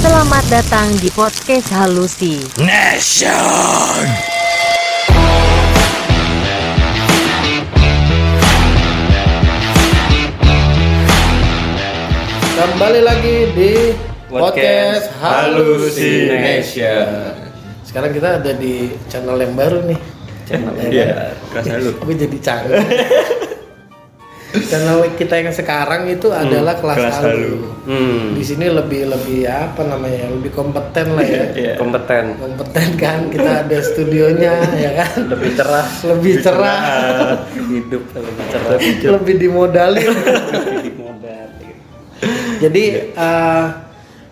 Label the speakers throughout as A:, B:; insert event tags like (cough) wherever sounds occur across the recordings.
A: Selamat datang di podcast Halusi.
B: Nation!
C: Kembali lagi di podcast,
D: Podcast
C: Halusination.
D: Halusination.
C: Sekarang kita ada di channel yang baru nih.
D: Channel
C: Ya
D: dia.
C: kan?
D: Kerasa lu.
C: Aku jadi canggih. channel kita yang sekarang itu adalah kelas,
D: kelas
C: halu.
D: halu. Hmm.
C: Di sini lebih lebih apa namanya? ya? Lebih kompeten lah ya.
D: Iya.
B: Kompeten.
C: Kompeten kan kita ada studionya ya kan.
B: Lebih cerah.
C: Lebih cerah,
B: Hidup lebih cerah.
C: lebih dimodali.
B: Lebih modal.
C: Jadi eh,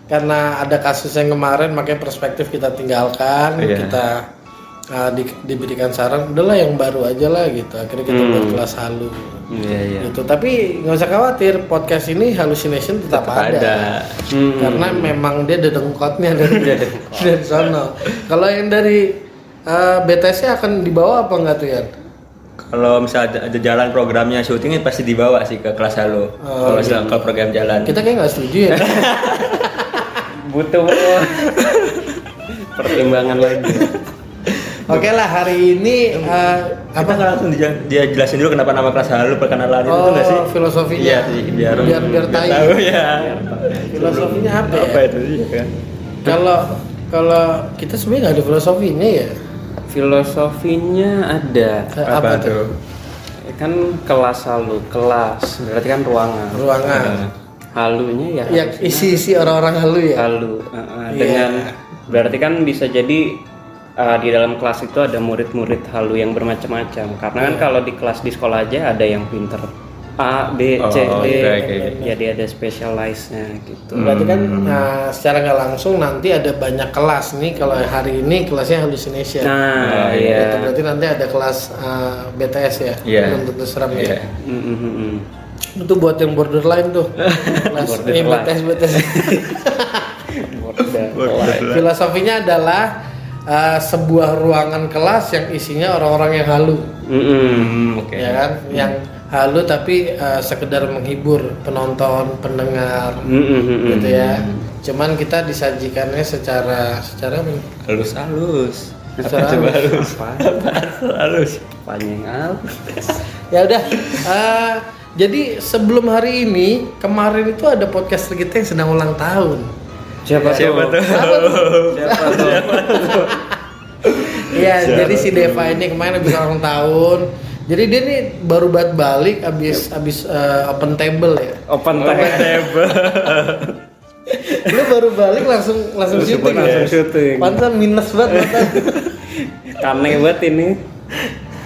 C: karena ada kasus yang kemarin, makanya perspektif kita tinggalkan,
D: Iya.
C: kita eh, di- diberikan saran, udahlah yang baru aja lah gitu. Akhirnya kita
B: Hmm.
C: buat kelas halu.
D: Iya, iya.
C: Gitu. Tapi nggak usah khawatir, podcast ini hallucination tetap, ada.
D: Ada.
B: Hmm.
C: Karena memang dia dedengkotnya dari dari sono. Kalau yang dari eh, BTS akan dibawa apa nggak tuh Yan?
D: Kalau misalnya ada, ada jalan programnya syutingnya pasti dibawa sih ke kelas halo.
C: Oh,
D: kalau misalnya kalau program jalan.
C: Kita kayak nggak setuju ya.
B: Butuh pertimbangan lagi.
C: Oke lah hari ini eh,
D: apa
C: apa
D: nggak langsung dia, dia jelasin dulu kenapa nama kelas halo perkenalan itu
C: Oh,
D: nggak sih?
C: filosofinya.
D: Iya sih biar
C: Biar- biar tai.
D: tahu ya.
C: filosofinya apa ya?
D: Apa itu sih kan?
C: Kalau kalau kita sebenarnya nggak ada filosofinya ya.
B: Filosofinya ada.
C: Eh,
D: Apa, tuh?
B: Ya Kan kelas halu, kelas berarti kan ruangan.
C: Ruangan.
B: Halunya ya.
C: Ya
B: harusnya
C: isi-isi orang-orang halu ya.
B: Halu. Uh, uh,
C: Iya.
B: Dengan berarti kan bisa jadi uh, di dalam kelas itu ada murid-murid halu yang bermacam-macam. Karena
C: Iya.
B: kan kalau di kelas di sekolah aja ada yang pinter A, B, C,
D: Oh,
B: D.
D: oke, oke, oke.
B: Jadi ada specialize-nya gitu.
C: Berarti kan
D: Hmm.
C: nah, secara nggak langsung nanti ada banyak kelas nih kalau hari ini kelasnya hallucination.
D: Nah,
B: Nah, iya.
C: Gitu. Berarti nanti ada kelas eh, BTS ya.
D: Iya.
C: Untuk seram
D: Iya.
C: ya.
B: Mm, mm, mm, mm.
C: Itu buat yang borderline
D: (laughs)
C: tuh. kelas eh,
B: Borderline.
C: BTS BTS.
B: Udah.
C: Filosofinya adalah eh, sebuah ruangan kelas yang isinya orang-orang yang halu.
B: Mm, mm.
D: Hmm, oke.
C: ya kan yang halu tapi eh, sekedar menghibur penonton pendengar
B: Mm, mm, mm,
D: Hmm.
B: mm.
C: gitu ya cuman kita disajikannya secara secara apa nih?
D: Halus halus.
C: Secara
D: Apa (laughs) coba halus?
B: Nah, Apa?
D: Halus.
B: Panjang al.
C: ya udah eh, jadi sebelum hari ini kemarin itu ada podcaster kita yang sedang ulang tahun
B: Siapa,
D: Siapa tuh?
C: Apa tuh?
B: Siapa tuh?
C: Iya,
D: Siapa
C: jadi si Deva ini kemarin habis ulang tahun. Jadi dia nih baru bat balik abis abis eh, open table ya.
B: Open tag.
C: Lu baru balik langsung langsung
B: Langsung
C: syuting.
B: langsung
C: ya?
B: syuting.
C: Pantesan minus banget. pantesan.
B: Aneh banget ini.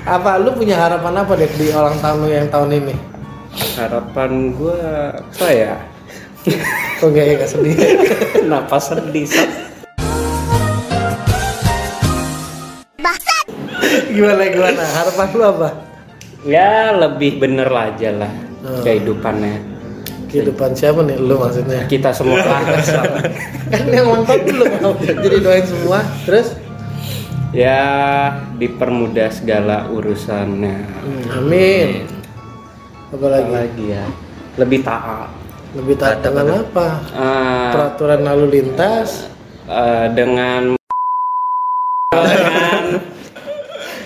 C: apa lu punya harapan apa deh di ulang tahun lu yang tahun ini
B: Harapan gua apa ya? (laughs)
C: kok gak ya gak sedih
B: Kenapa sedih? Sat?
C: gimana gimana harapan lu apa
B: Ya lebih bener lah aja lah
C: Hmm.
B: kehidupannya.
C: kehidupan siapa nih lu maksudnya
B: Kita semua kelas lah.
C: kan yang ulang tahun dulu mau jadi doain semua terus
B: Ya dipermudah segala urusannya.
C: Hmm, amin apa
B: Apa
C: lagi
B: Lagi ya. Lebih taat.
C: lebih taat dengan apa
B: Ah,
C: peraturan lalu lintas
B: eh, (laughs) dengan dengan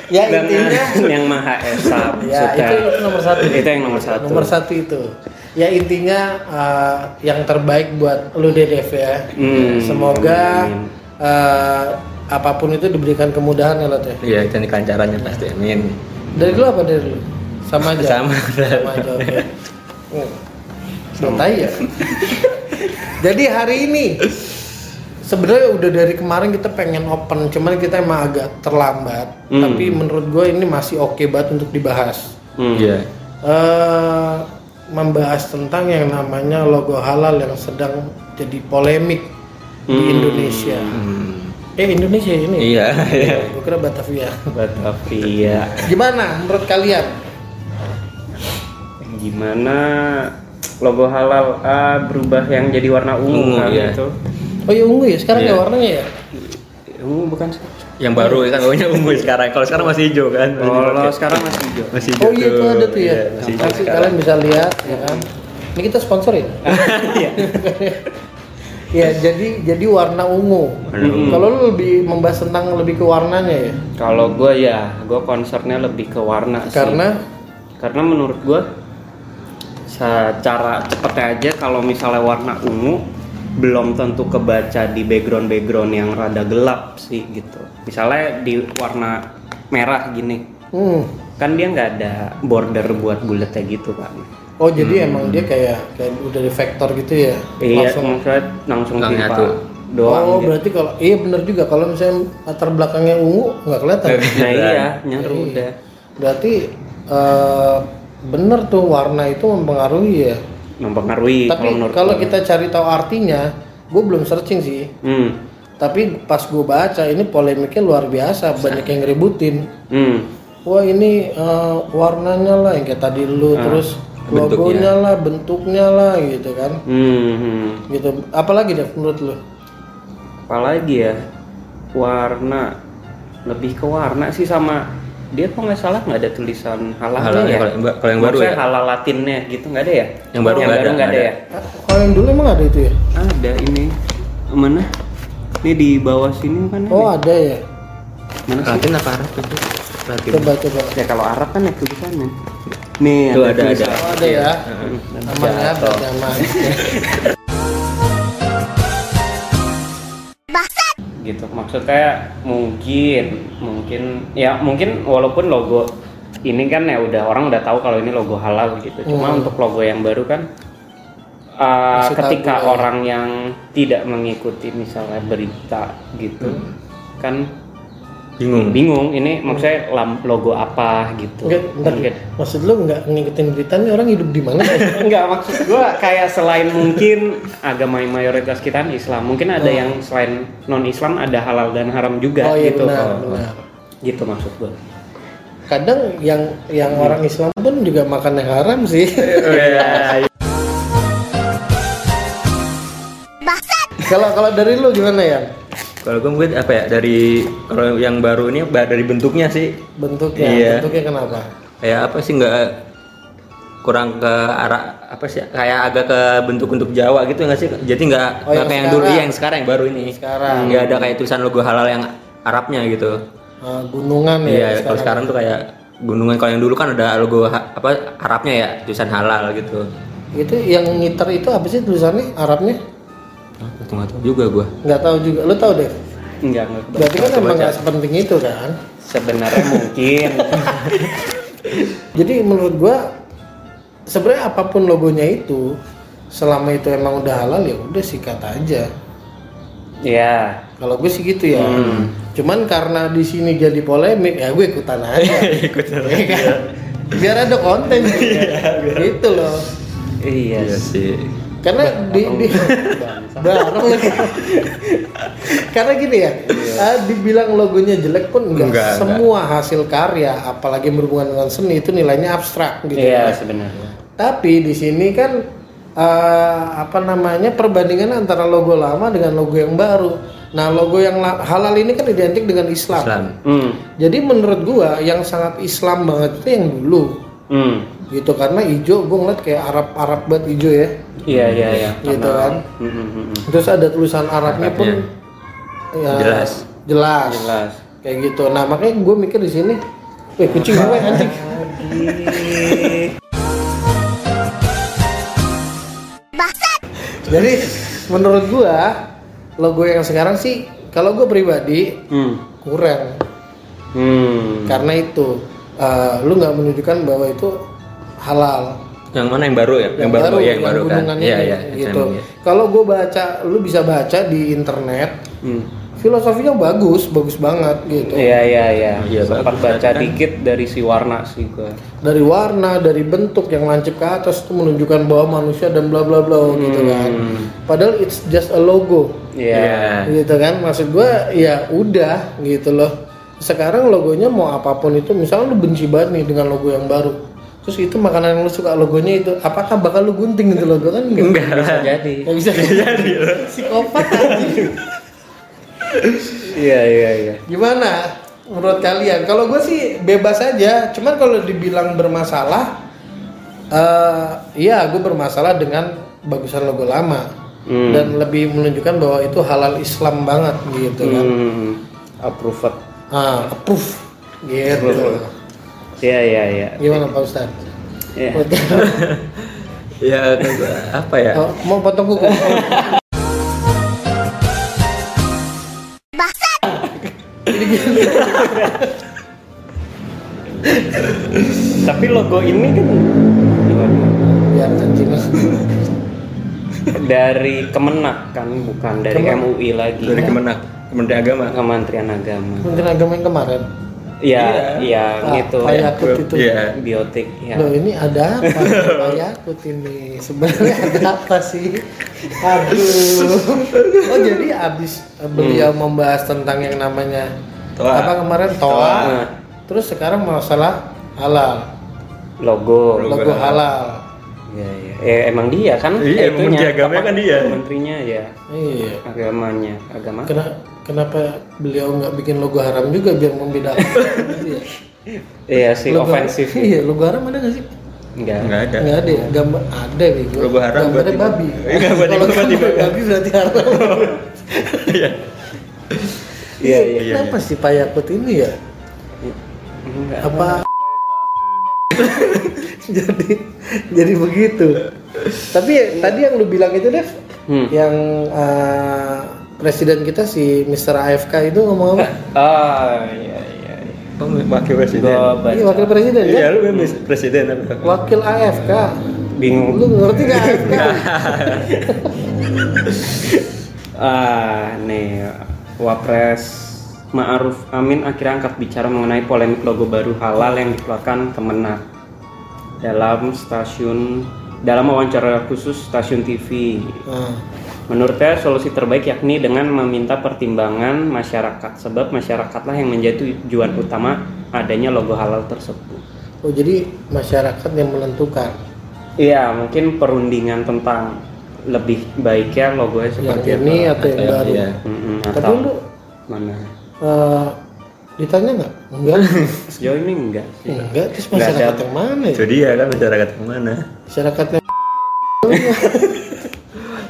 C: ya
B: dengan
C: intinya
B: (laughs) yang maha esa
C: ya
B: maksudnya.
C: itu, itu nomor satu
B: Itu yang nomor satu.
C: nomor satu itu ya intinya eh, yang terbaik buat lu deh Dev ya
B: Hmm,
C: semoga
B: amin.
C: eh, apapun itu diberikan kemudahan ya Lot ya
D: Iya, itu nih kelancarannya pasti. Amin.
C: dari lu apa dari lu sama aja
D: Sama.
C: sama aja oke Hmm. Santai ya jadi hari ini sebenarnya udah dari kemarin kita pengen open cuman kita emang agak terlambat
B: Hmm.
C: tapi menurut gue ini masih oke banget untuk dibahas
B: Hmm.
D: Iya.
C: eh membahas tentang yang namanya logo halal yang sedang jadi polemik di
B: Hmm.
C: Indonesia.
D: Hmm.
C: Eh Indonesia ini.
D: Iya, iya.
C: Gue kira Batavia.
B: Batavia.
C: Gimana menurut kalian?
B: Gimana logo halal A berubah yang jadi warna ungu
D: Ungu,
B: kan
D: iya.
B: itu?
C: Oh ya ungu ya sekarang
D: Iya.
C: ya warnanya ya.
B: Ungu bukan sih.
D: Yang baru kan baunya ungu sekarang. Kalau sekarang masih hijau kan? Masih
B: Kalau
D: dipakai.
B: sekarang masih hijau.
D: masih hijau.
C: Oh iya itu ada tuh ya.
D: Iya, masih hijau
C: Nanti
D: sekarang. (laughs) Iya.
C: kalian bisa lihat ya kan. Ini kita sponsorin.
B: Iya.
C: (laughs) ya jadi jadi warna ungu
D: Hmm.
B: Mm-mm.
C: kalau lu lebih membahas tentang lebih ke warnanya ya
B: Kalau gue ya, gue concernnya lebih ke warna sih.
C: karena
B: Karena menurut gue secara cepetnya aja kalau misalnya warna ungu belum tentu kebaca di background-background yang rada gelap sih gitu. Misalnya di warna merah gini,
C: hmm,
B: kan dia nggak ada border buat bulatnya gitu kan.
C: oh jadi emang dia kayak kayak udah di vektor gitu ya
B: Iya,
C: langsung
B: maksudnya langsung
D: Langsung
B: timpa
D: nyatu.
B: doang.
C: oh
B: gitu.
C: berarti kalau iya bener juga kalau misalnya latar belakangnya ungu nggak kelihatan (laughs)
B: Nah iya, nyaru udah.
C: berarti eh, bener tuh warna itu mempengaruhi ya
B: Mempengaruhi
C: tapi
B: Iya, menurut
C: kalau
B: gua.
C: kita cari tahu artinya gue belum searching sih
B: Hmm.
C: tapi pas gue baca ini polemiknya luar biasa banyak yang ngeributin
B: Hmm.
C: wah ini eh, warnanya lah yang kayak tadi lu
B: Ah,
C: terus logonya lah bentuknya lah gitu kan
B: Hmm. hmm.
C: gitu apalagi deh menurut lu
B: apalagi ya warna lebih ke warna sih sama dia kok nggak salah nggak ada tulisan halal
D: Halalnya
B: ya
D: kalau yang ba- kalau yang baru
B: Maksudnya
D: ya?
B: halal latinnya gitu nggak ada ya
D: Yang baru nggak ada,
B: nggak ada,
D: nggak
B: ya
C: Ah, kalau yang dulu emang ada itu ya
B: ada ini mana ini di bawah sini kan
C: oh ada ya
B: mana sih?
D: Latin apa Arab itu? Latin.
C: coba coba
B: ya kalau Arab kan ya tulisannya nih
D: Itu ada ada.
B: tulisan.
C: oh, ada ya aman ya berarti aman
B: gitu maksudnya mungkin mungkin ya mungkin walaupun logo ini kan ya udah orang udah tahu kalau ini logo halal gitu cuma untuk logo yang baru kan uh,
C: Masih tabu
B: ketika
C: ya.
B: orang yang tidak mengikuti misalnya berita gitu kan
D: Bingung. (laughs)
B: bingung ini maksudnya lam- logo apa gitu
C: Enggak, bentar.
B: Mungkin.
C: Maksud lu nggak ngikutin berita nih orang hidup di
D: (laughs)
C: mana?
B: (laughs) Enggak maksud gua kayak selain mungkin agama yang mayoritas kita kan Islam mungkin ada yang selain non Islam ada halal dan haram juga
C: oh iya
B: gitu
C: benar,
D: oh.
C: benar.
B: gitu maksud gua
C: Kadang yang yang
D: Iya.
C: orang Islam pun juga makan yang haram
D: (laughs)
C: sih. Kalau kalau dari lu gimana ya?
D: Kalau gue mungkin apa ya dari kalau yang baru ini ba- dari bentuknya sih
C: Bentuknya,
D: Iya.
C: bentuknya kenapa?
D: kayak apa sih nggak kurang ke arah apa sih kayak agak ke bentuk-bentuk Jawa gitu nggak sih jadi nggak nggak
C: Oh, yang
D: kayak yang dulu
C: sekarang.
D: iya, yang sekarang yang baru ini
C: Sekarang.
D: nggak ada kayak tulisan logo halal yang Arabnya gitu
C: Ah, gunungan ya.
D: iya kalau sekarang tuh kayak gunungan kalau yang dulu kan ada logo ha- apa Arabnya ya tulisan halal gitu
C: Itu yang ngiter itu apa sih tulisannya Arabnya?
D: Apa tuh nggak tahu Ah, juga gua
C: Nggak tahu juga. Lu tahu deh.
B: enggak enggak
C: Berarti kan
D: Coba
C: emang
D: aja.
C: nggak sepenting itu kan?
B: sebenarnya mungkin
C: Jadi menurut gua sebenarnya apapun logonya itu selama itu emang udah halal ya udah sikat aja.
B: ya
C: Kalau gue sih gitu ya. Cuman karena di sini jadi polemik ya gue ikutan aja. ikutan. Biar ada konten gitu loh.
B: iya
D: iya sih
C: Karena di, di bareng lagi. Karena gini ya, ah, dibilang logonya jelek pun enggak.
D: Enggak, enggak.
C: Semua hasil karya, apalagi yang berhubungan dengan seni itu nilainya abstrak gitu.
B: iya sebenarnya
C: Tapi di sini kan eh, apa namanya perbandingan antara logo lama dengan logo yang baru. Nah, logo yang la- halal ini kan identik dengan Islam.
D: Islam
B: hmm
C: Jadi menurut gua yang sangat Islam banget itu yang dulu
B: hmm
C: gitu karena hijau gua ngeliat kayak Arab Arab banget hijau ya.
B: iya iya iya
C: Gitu
B: Karena-
C: kan.
B: Hmm, hmm, hmm, hmm.
C: Terus ada tulisan Arabnya pun ya,
D: Jelas.
C: jelas.
B: jelas
C: Kayak gitu. Nah, makanya gua mikir di sini, weh kucing gue anjing. Jadi menurut gua logo yang sekarang sih kalau gua pribadi
B: hmm
C: kurang
B: hmm
C: karena itu eh, lu nggak menunjukkan bahwa itu halal
D: yang mana yang baru ya yang, baru, ya yang baru kan
C: gunungannya
D: iya
C: ini,
D: iya itu
C: gitu
D: emang ya.
C: kalau gue baca lu bisa baca di internet
B: hmm.
C: filosofinya bagus bagus banget gitu
B: Iya iya iya.
D: Iya,
B: Sempat
D: bagus.
B: baca
D: Kan-
B: dikit dari si warna sih gua.
C: dari warna dari bentuk yang lancip ke atas itu menunjukkan bahwa manusia dan bla bla bla gitu kan padahal it's just a logo
B: Iya.
C: gitu kan maksud gua ya udah gitu loh sekarang logonya mau apapun itu misalnya lu benci banget nih dengan logo yang baru terus itu makanan yang lu suka logonya itu apakah bakal lu gunting itu logo kan enggak
D: enggak
B: Bisa
D: lah
B: jadi.
C: Nggak bisa jadi psikopat anjing.
B: Iya iya iya.
C: gimana menurut kalian kalau gue sih bebas aja cuman kalau dibilang bermasalah eh iya gue bermasalah dengan bagusan logo lama
B: Hmm.
C: dan lebih menunjukkan bahwa itu halal Islam banget gitu kan.
B: Hmm, approved.
C: Ah, approve gitu.
B: Iya iya iya.
C: Gimana Pak Ustaz?
B: Iya.
D: ya apa ya
C: Oh, mau potong kuku. Oh.
B: Tapi logo ini kan gimana?
C: Biar iya, anjing.
B: dari Kemenak kan bukan dari MUI lagi.
D: dari kemenak kementerian agama
B: Kementerian Agama.
C: Mungkin agama yang kemarin.
B: Iya, iya gitu.
C: Ah, Yakut itu.
D: Iya.
B: Biotik ya.
C: Loh ini ada apa? Pak Yakut ini sebenarnya ada apa sih? Aduh. Oh jadi abis eh, beliau membahas tentang yang namanya
D: Hmm. Toa.
C: apa kemarin toa,
B: Toa.
C: terus sekarang masalah halal,
B: Logo.
D: Logo
C: logo
D: halal.
C: halal.
B: Iya, iya. Eh, emang dia kan
D: Iya,
B: itunya,
D: Menteri Agamanya
B: apa,
D: kan dia.
B: Menterinya ya,
C: Iya.
B: agamanya, agama.
C: Kena- kenapa beliau nggak bikin logo haram juga biar membedakan?
D: (laughs)
C: Iya.
B: Iya sih
C: Logo-
B: ofensif.
C: Iya, logo haram ada nggak sih?
B: Enggak.
D: nggak ada
C: Nggak ada. ya? Gambar ada bego.
D: Logo haram
C: Gambarnya
D: berarti-
C: babi.
D: Iya, berarti-
C: Kalau
D: berarti
C: gambar
D: babi.
C: babi berarti haram.
D: Iya.
B: Iya, iya.
D: iya.
C: Kenapa sih Pak Yakut ini ya?
B: Enggak.
D: (laughs)
C: Apa? jadi jadi begitu. Tapi ya, tadi yang lu bilang itu Dev,
B: Hmm.
C: yang eh, presiden kita si Mr. AFK itu ngomong apa?
B: Ah, iya, iya.
D: Kamu wakil presiden
B: Gua
C: Iya,
B: baca.
C: wakil presiden kan?
D: iya lu kan mis- presiden apa
C: Wakil AFK.
B: Bingung.
C: Lu ngerti gak?
D: Iya.
B: Ah, nih Wapres Ma'ruf Amin akhirnya angkat bicara mengenai polemik logo baru halal yang dikeluarkan Kemenak dalam stasiun dalam wawancara khusus stasiun TV.
C: Nah,
B: Menurutnya solusi terbaik yakni dengan meminta pertimbangan masyarakat sebab masyarakatlah yang menjadi tujuan utama adanya logo halal tersebut.
C: oh jadi masyarakat yang menentukan
B: Iya, mungkin perundingan tentang lebih baiknya logonya
C: yang
B: seperti
C: ini
B: apa.
C: atau Ya, yang
D: Iya,
C: baru.
D: iya.
B: Iya. Mm-mm,
C: Tapi
B: atau
C: lu
B: mana?
C: eh, ditanya nggak?
D: (laughs)
C: Enggak.
D: Iya.
B: Sejauh ini enggak sih.
C: Enggak. Terus
B: Nggak
C: masyarakat
B: ada.
C: yang mana ya?
D: jadi ya kan masyarakat yang mana
C: Masyarakat yang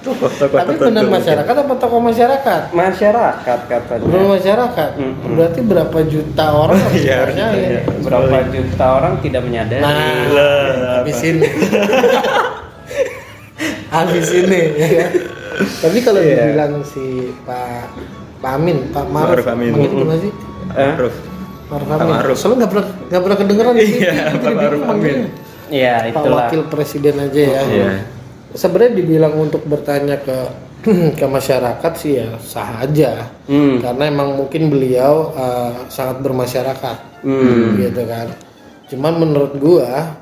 D: tokoh-tokoh
C: tapi benar masyarakat apa tokoh masyarakat?
B: Masyarakat
C: Benar
B: katanya.
C: masyarakat.
B: Mm-mm.
C: Berarti berapa juta orang
D: (laughs)
C: yang
D: Iya,
C: dipercaya?
D: iya.
B: Berapa juta orang tidak menyadari?
C: Nah,
D: Lah,
C: habis ini.
D: (laughs)
C: habis ini ya kan? Tapi kalau
B: Iya.
C: dibilang si Pak Pak Amin, Pak Maruf,
D: Maruf Amin.
C: manggil itu nggak sih?
B: Eh?
D: Maruf
C: Maruf
D: Pak
C: Amin.
D: Maruf.
C: Soalnya nggak pernah nggak pernah kedengeran di
D: Iya,
C: TV,
D: Pak
C: jadi
D: Maruf
C: manggilnya
D: Amin.
B: Iya,
C: Pak
B: itulah.
C: Wakil Presiden aja ya.
D: Iya.
C: Sebenarnya dibilang untuk bertanya ke (clears throat) ke masyarakat sih ya sah aja.
B: Hmm.
C: Karena emang mungkin beliau eh, sangat bermasyarakat,
B: Hmm.
C: gitu kan. Cuman menurut gua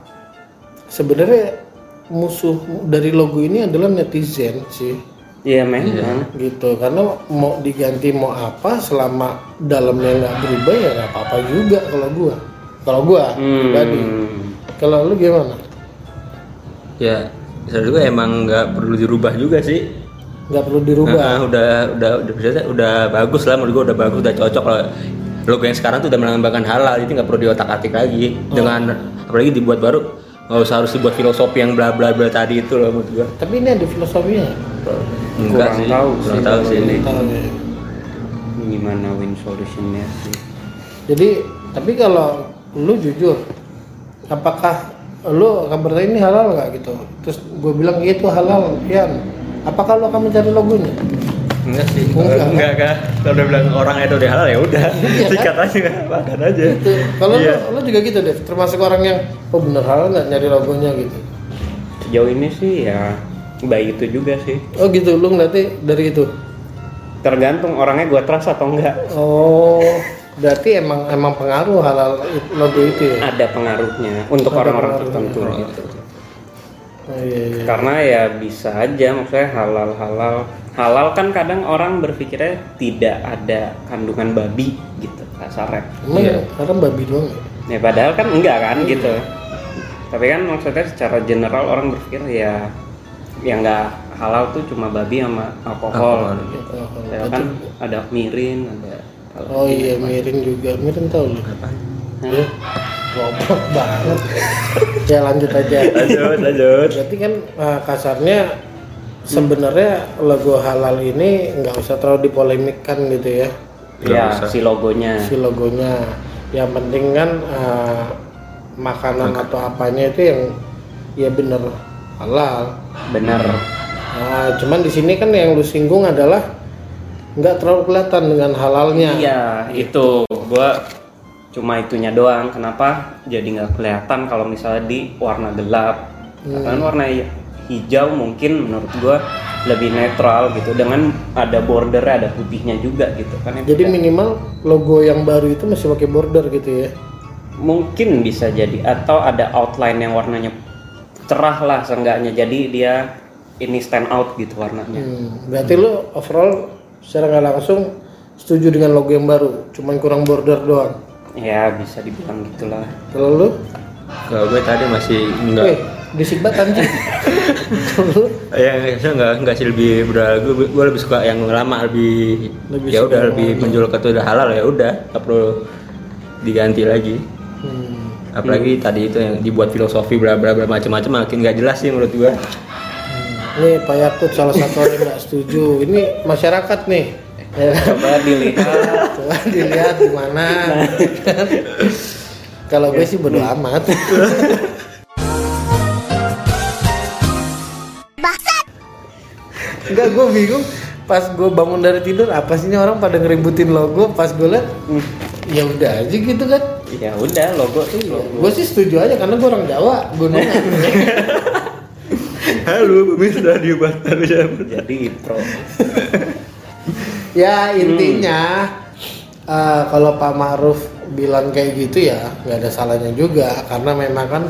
C: sebenarnya musuh dari logo ini adalah netizen sih
B: Iya, memang.
C: gitu karena mau diganti mau apa selama dalamnya nggak berubah ya nggak apa-apa juga kalau gua kalau gua
B: Hmm.
C: pribadi kalau lu gimana
D: ya saya juga emang nggak perlu dirubah juga sih
C: nggak perlu dirubah
D: Nah, udah udah udah bisa udah bagus lah menurut gua udah bagus udah cocok lah logo yang sekarang tuh udah melambangkan halal jadi nggak perlu diotak atik lagi dengan apalagi dibuat baru nggak usah harus dibuat filosofi yang bla bla bla tadi itu loh menurut gua
C: tapi ini ada filosofinya
D: enggak
B: Kurang
D: sih
B: tahu
D: kurang tahu
B: sih kalau
D: sih ini
C: Tahu ya.
B: Gimana win solutionnya sih?
C: jadi tapi kalau lu jujur apakah lu akan bertanya ini halal nggak gitu terus gua bilang iya itu halal ya apakah lu akan mencari logonya
D: enggak sih
C: Oh, Enggak.
D: enggak enggak kan kalau udah bilang orang itu udah halal ya udah
B: (laughs)
C: Iya, kan?
D: sikat aja makan aja
C: gitu kalau
D: Iya.
C: lu, lu juga gitu deh termasuk orang yang oh bener halal nggak nyari logonya gitu
B: Sejauh ini sih ya baik itu juga sih.
C: oh gitu lu ngeliatnya dari itu
B: Tergantung orangnya gua trust atau enggak.
C: Oh, berarti emang emang pengaruh halal i- logo itu ya?
B: Ada pengaruhnya untuk
C: Ada
B: orang-orang
C: pengaruhnya.
B: tertentu. gitu.
C: Oh, iya, iya.
B: karena ya bisa aja maksudnya halal halal halal kan kadang orang berpikirnya tidak ada kandungan babi gitu kasarnya
C: Emang
D: Iya.
C: haram babi doang ya?
B: ya padahal kan enggak kan gitu tapi kan maksudnya secara general orang berpikir ya yang enggak halal tuh cuma babi sama alkohol,
D: Alkohol.
B: gitu.
C: Oh, kalau
B: Ya
C: babi-
B: kan ada mirin ada
C: Oh iya, Mirin juga. Mirin tahu lu.
D: Apa?
C: Ya, goblok banget. ya lanjut aja.
D: lanjut lanjut
C: Berarti kan eh, kasarnya sebenarnya logo halal ini nggak usah terlalu dipolemikan gitu ya
B: ya
D: Nggak usah.
B: si logonya
C: si logonya yang penting kan eh, makanan atau apanya itu yang ya bener halal
B: bener
C: nah, cuman di sini kan yang lu singgung adalah nggak terlalu kelihatan dengan halalnya
B: iya itu gua cuma itunya doang kenapa jadi nggak kelihatan kalau misalnya di warna gelap karena warna hi- hijau mungkin menurut gua lebih netral gitu dengan ada border ada putihnya juga gitu kan yang
C: jadi
B: tidak-
C: minimal logo yang baru itu masih pakai border gitu ya
B: mungkin bisa jadi atau ada outline yang warnanya cerah lah seenggaknya jadi dia ini stand out gitu warnanya
C: Hmm, berarti lu overall secara nggak langsung setuju dengan logo yang baru cuman kurang border doang
B: ya bisa dibilang gitulah
C: kalau lu
D: Kalau gue tadi masih enggak
C: eh berisik banget anjing (laughs) Kalau lu?
D: Ya, saya nggak nggak sih lebih udah gue, gue lebih suka yang lama lebih,
C: Lebih
D: ya
C: suka yang
D: udah lebih menjual ke itu udah halal ya udah nggak perlu diganti lagi
C: Hmm.
D: apalagi tadi itu yang dibuat filosofi bla bla bla macam-macam makin nggak jelas sih menurut gue
C: Nih Pak Yakut salah satu orang yang nggak setuju. Ini masyarakat nih. Ya,
B: Eh, coba dilihat
C: coba dilihat gimana. Kalau gue sih bodo amat. Enggak, gue bingung. Pas gue bangun dari tidur, apa sih ini orang pada ngeributin logo? Pas gue liat, ya udah aja gitu kan.
B: ya udah logo tuh logo
C: Gue sih setuju aja karena gue orang Jawa, gunungan.
D: halo misalnya dibuat harus
B: jadi pro
C: ya intinya eh, kalau Pak Ma'ruf bilang kayak gitu ya nggak ada salahnya juga karena memang kan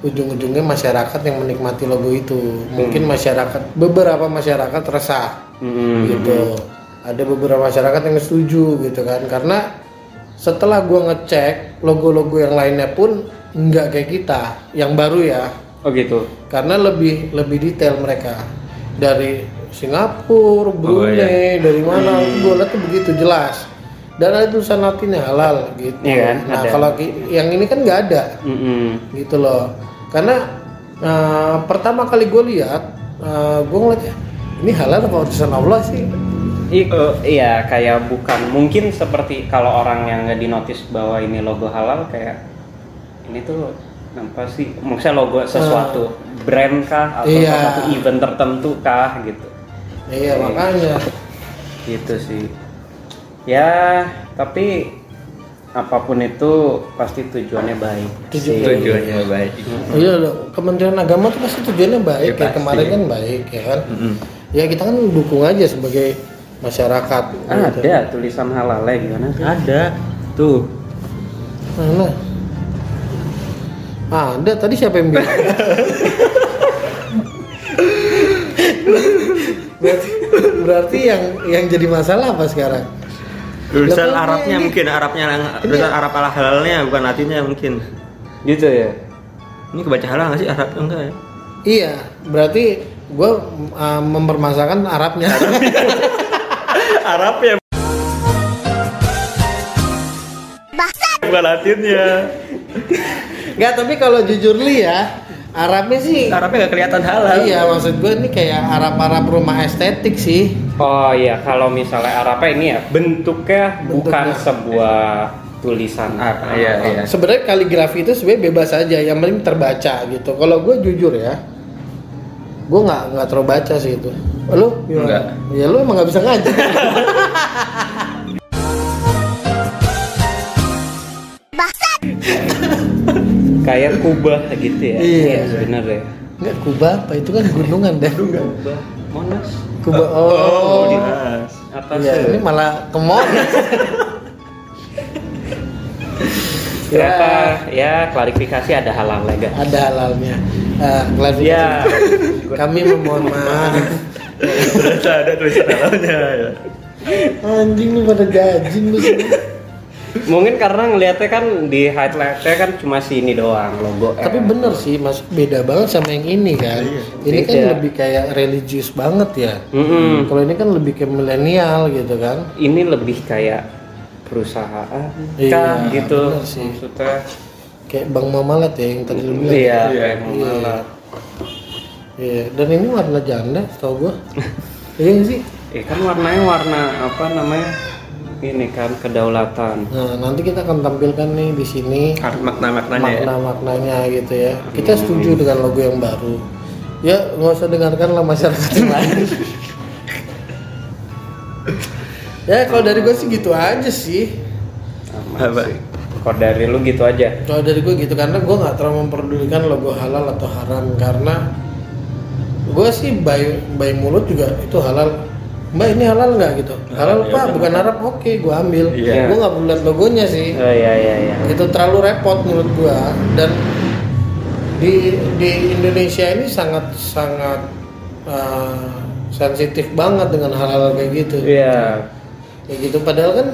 C: ujung-ujungnya masyarakat yang menikmati logo itu mungkin masyarakat beberapa masyarakat resah
B: Hmm.
C: gitu ada beberapa masyarakat yang setuju gitu kan karena setelah gua ngecek logo-logo yang lainnya pun nggak kayak kita yang baru ya
B: oh gitu
C: karena lebih lebih detail mereka dari
B: Oh,
C: Singapura, Brunei,
B: iya.
C: dari mana
B: Hmm.
C: gue lihat tuh begitu jelas dan ada tulisan Latinnya halal gitu.
B: Iya kan,
C: Nah
B: ada.
C: kalau ki- yang ini kan nggak ada
B: Mm-mm.
C: gitu loh karena eh, pertama kali gue lihat gue ngeliat ya ini halal apa urusan Allah sih?
B: I- eh, iya kayak bukan mungkin seperti kalau orang yang nggak dinotis bahwa ini logo halal kayak ini tuh apa sih maksudnya logo sesuatu brand kah atau
C: Iya.
B: suatu event tertentu kah gitu
C: Iya
B: Iya.
C: makanya
B: gitu sih ya tapi apapun itu pasti tujuannya baik
C: Tujuan.
B: sih.
D: tujuannya baik
C: iya loh Kementerian Agama tuh pasti tujuannya baik
D: Ya,
C: ya, kemarin
D: pasti.
C: kan baik ya kan
B: Hmm.
D: Mm-mm.
C: ya kita kan dukung aja sebagai masyarakat gitu.
B: ada tulisan halalnya gimana sih?
D: ada tuh
C: Mana? Ada tadi siapa yang bilang? berarti, berarti yang yang jadi masalah apa sekarang?
D: tulisan
C: Lah, kan
D: Arabnya
C: ini-
D: mungkin Arabnya lang- tulisan Arab halalnya bukan Latinnya mungkin
B: gitu ya
D: ini kebaca halal nggak sih Arabnya enggak ya
C: Iya, berarti gue mempermasalahkan Arabnya.
D: Arabnya bukan Latinnya
C: Enggak, tapi kalau jujur li ya, Arabnya sih
D: Arabnya nggak kelihatan halal
C: Iya, maksud gue ini kayak Arab-Arab rumah estetik sih.
B: oh iya kalau misalnya Arabnya ini ya bentuknya,
C: Bentuknya.
B: bukan
C: Ah,
B: sebuah tulisan
D: Arab iya iya
C: Sebenarnya kaligrafi itu sebenarnya bebas aja, yang penting terbaca gitu. Kalau gue jujur ya, gue nggak nggak terlalu baca sih itu. Lu gimana? Ya lu emang nggak bisa ngaji.
B: kayak kubah gitu ya
C: Iya.
B: bener ya
C: Nggak Kuba apa itu kan gunungan deh.
B: kubah monas
C: Kuba oh,
D: Dinas.
B: apa
C: Iya, ini malah ke mall.
B: ternyata ya klarifikasi ada halal lega
C: ada halalnya. Eh, klarifikasi.
B: ya
C: Kami memohon maaf.
D: Ternyata ada tulisan halalnya ya.
C: Anjing lu pada gajing lu semua.
B: mungkin karena ngelihatnya kan di highlightnya kan cuma si ini doang logo
C: Tapi
B: M.
C: bener sih, mas beda banget sama yang ini kan. Ini kan
B: Beda. Hmm.
C: lebih kayak religius banget ya.
B: Mm-mm.
C: Kalau ini kan lebih ke milenial gitu kan.
B: ini lebih kayak perusahaan
C: Iya,
B: kah gitu
C: bener sih.
B: maksudnya
C: Kayak Bang Mamalat ya yang tadi lu bilang.
B: iya
D: Iya.
B: kayak memalat
C: Iya, dan ini warna janda setahu
B: (laughs)
C: gua. iya nggak sih?
B: Eh kan warnanya warna apa namanya? Ini kan kedaulatan.
C: Nah, nanti kita akan tampilkan nih di sini
D: makna-maknanya ya.
C: makna-maknanya gitu ya. Kita setuju dengan logo yang baru. Ya, nggak usah dengarkan lah masyarakat yang lain. ya, kalau dari gua sih gitu aja sih.
D: Apa?
B: Apa? Kalau dari lu gitu aja.
C: Kalau dari gue gitu karena gue nggak terlalu memperdulikan logo halal atau haram karena gue sih by by mulut juga itu halal. Mbak ini halal nggak gitu? Halal
D: Halal,
C: pak,
D: iya.
C: bukan Arab. Oke, gue ambil.
D: Iya.
C: Gue nggak perlu lihat logonya sih.
B: Oh iya iya iya.
C: Itu terlalu repot menurut gue dan di di Indonesia ini sangat sangat eh, sensitif banget dengan halal kayak gitu
B: Iya.
C: ya gitu padahal kan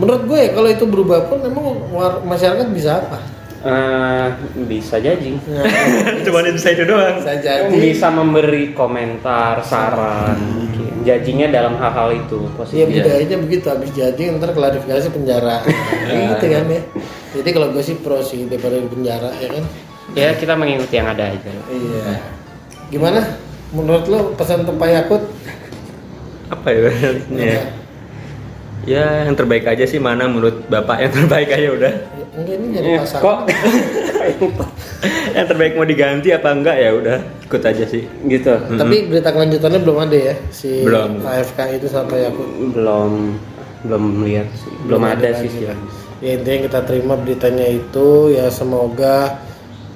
C: menurut gue ya kalau itu berubah pun emang war- masyarakat bisa apa
B: Eh, bisa jadi. (laughs)
C: Nah,
D: (laughs) Cuma itu saya itu doang.
C: bisa jadi
B: Bisa memberi komentar, saran, mungkin. Jajinya dalam hal-hal itu
C: ya
B: positif.
C: budayanya begitu habis jadi ntar klarifikasi
B: (laughs)
C: penjara
B: Iya.
C: gitu kan ya jadi kalau gue sih pro sih daripada di penjara ya kan
B: Ya kita mengikuti yang ada aja.
C: iya gimana menurut lo pesan tempat yakut
D: Apa ya? ya? Ya yang terbaik aja sih mana menurut bapak yang terbaik aja udah. (laughs)
C: enggak ini jadi
B: Eh, kok
C: pasangan
D: yang terbaik mau diganti apa enggak ya udah ikut aja sih.
B: (laughs) gitu?
C: tapi berita kelanjutannya belum ada ya si
D: Belum.
C: AFK itu sampai yakut
B: Belum belum lihat sih. Belum, ada, sih sih.
C: ya intinya kita terima beritanya itu ya semoga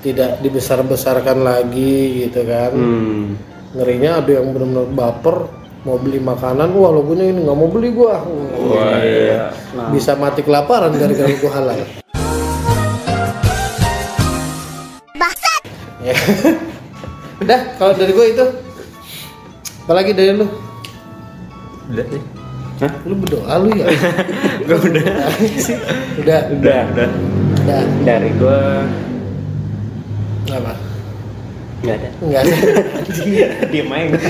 C: tidak dibesar-besarkan lagi gitu kan
B: Hmm.
C: ngerinya ada yang benar-benar baper mau beli makanan wah logonya ini nggak mau beli gua
D: Wah, iya.
C: bisa mati kelaparan gara-gara gua halal Ya. (laughs) udah kalau dari gua itu apalagi dari lu
D: Udah sih. (laughs)
C: lu berdoa lu ya
D: Gua udah.
C: udah
D: Udah, udah.
C: udah
B: Dari gua
C: nggak apa
B: nggak ada.
C: nggak ada
B: Diem aja gua.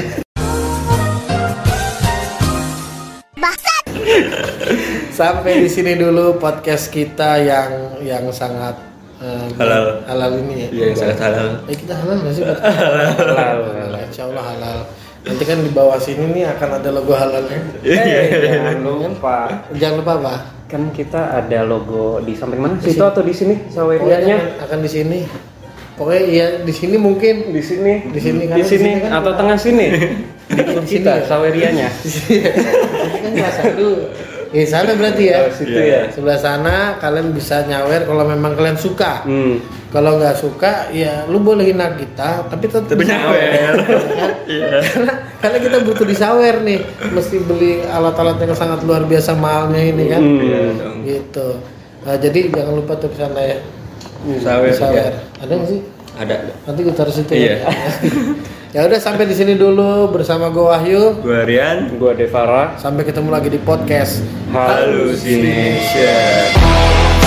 C: sampai di sini dulu podcast kita yang yang sangat eh,
D: Halal.
C: halal ini ya
D: Iya yang sangat halal.
C: Eh kita halal nggak sih? halal. ya.
B: Halal.
C: Insya Allah halal. Nanti kan di bawah sini nih akan ada logo halalnya.
B: Eh, jangan lupa.
C: Jangan lupa apa?
B: Kan kita ada logo di samping mana? Oh, Situ atau di sini?
C: Pokoknya
B: Sawerianya?
C: akan di sini. Pokoknya iya di sini mungkin.
B: Di sini.
C: Di sini kan?
B: Di sini
C: (laughs) Di sini kan?
B: atau tengah sini. Di
C: sini ya?
B: kita sawerianya.
C: Di sini Ini kan kelas satu. Ya sana berarti ya.
B: Oh, situ ya.
C: Sebelah sana kalian bisa nyawer kalau memang kalian suka.
B: Hmm.
C: Kalau nggak suka ya lu boleh hina kita tapi tetap ya
D: Tapi nyawer. (laughs) Iya.
C: kan? karena karena kita butuh disawer nih mesti beli alat-alat yang sangat luar biasa mahalnya ini kan
D: Iya
B: Hmm.
D: dong.
C: gitu Nah, jadi jangan lupa tuh pesan ya
D: Sawer.
C: sawer
D: ya.
C: ada nggak sih
D: Ada.
C: nanti kita harus itu
D: Iya.
C: ya (laughs) ya udah sampai di sini dulu bersama gue Wahyu
D: Gua Rian.
B: Gua Devara.
C: sampai ketemu lagi di podcast
D: Halusination.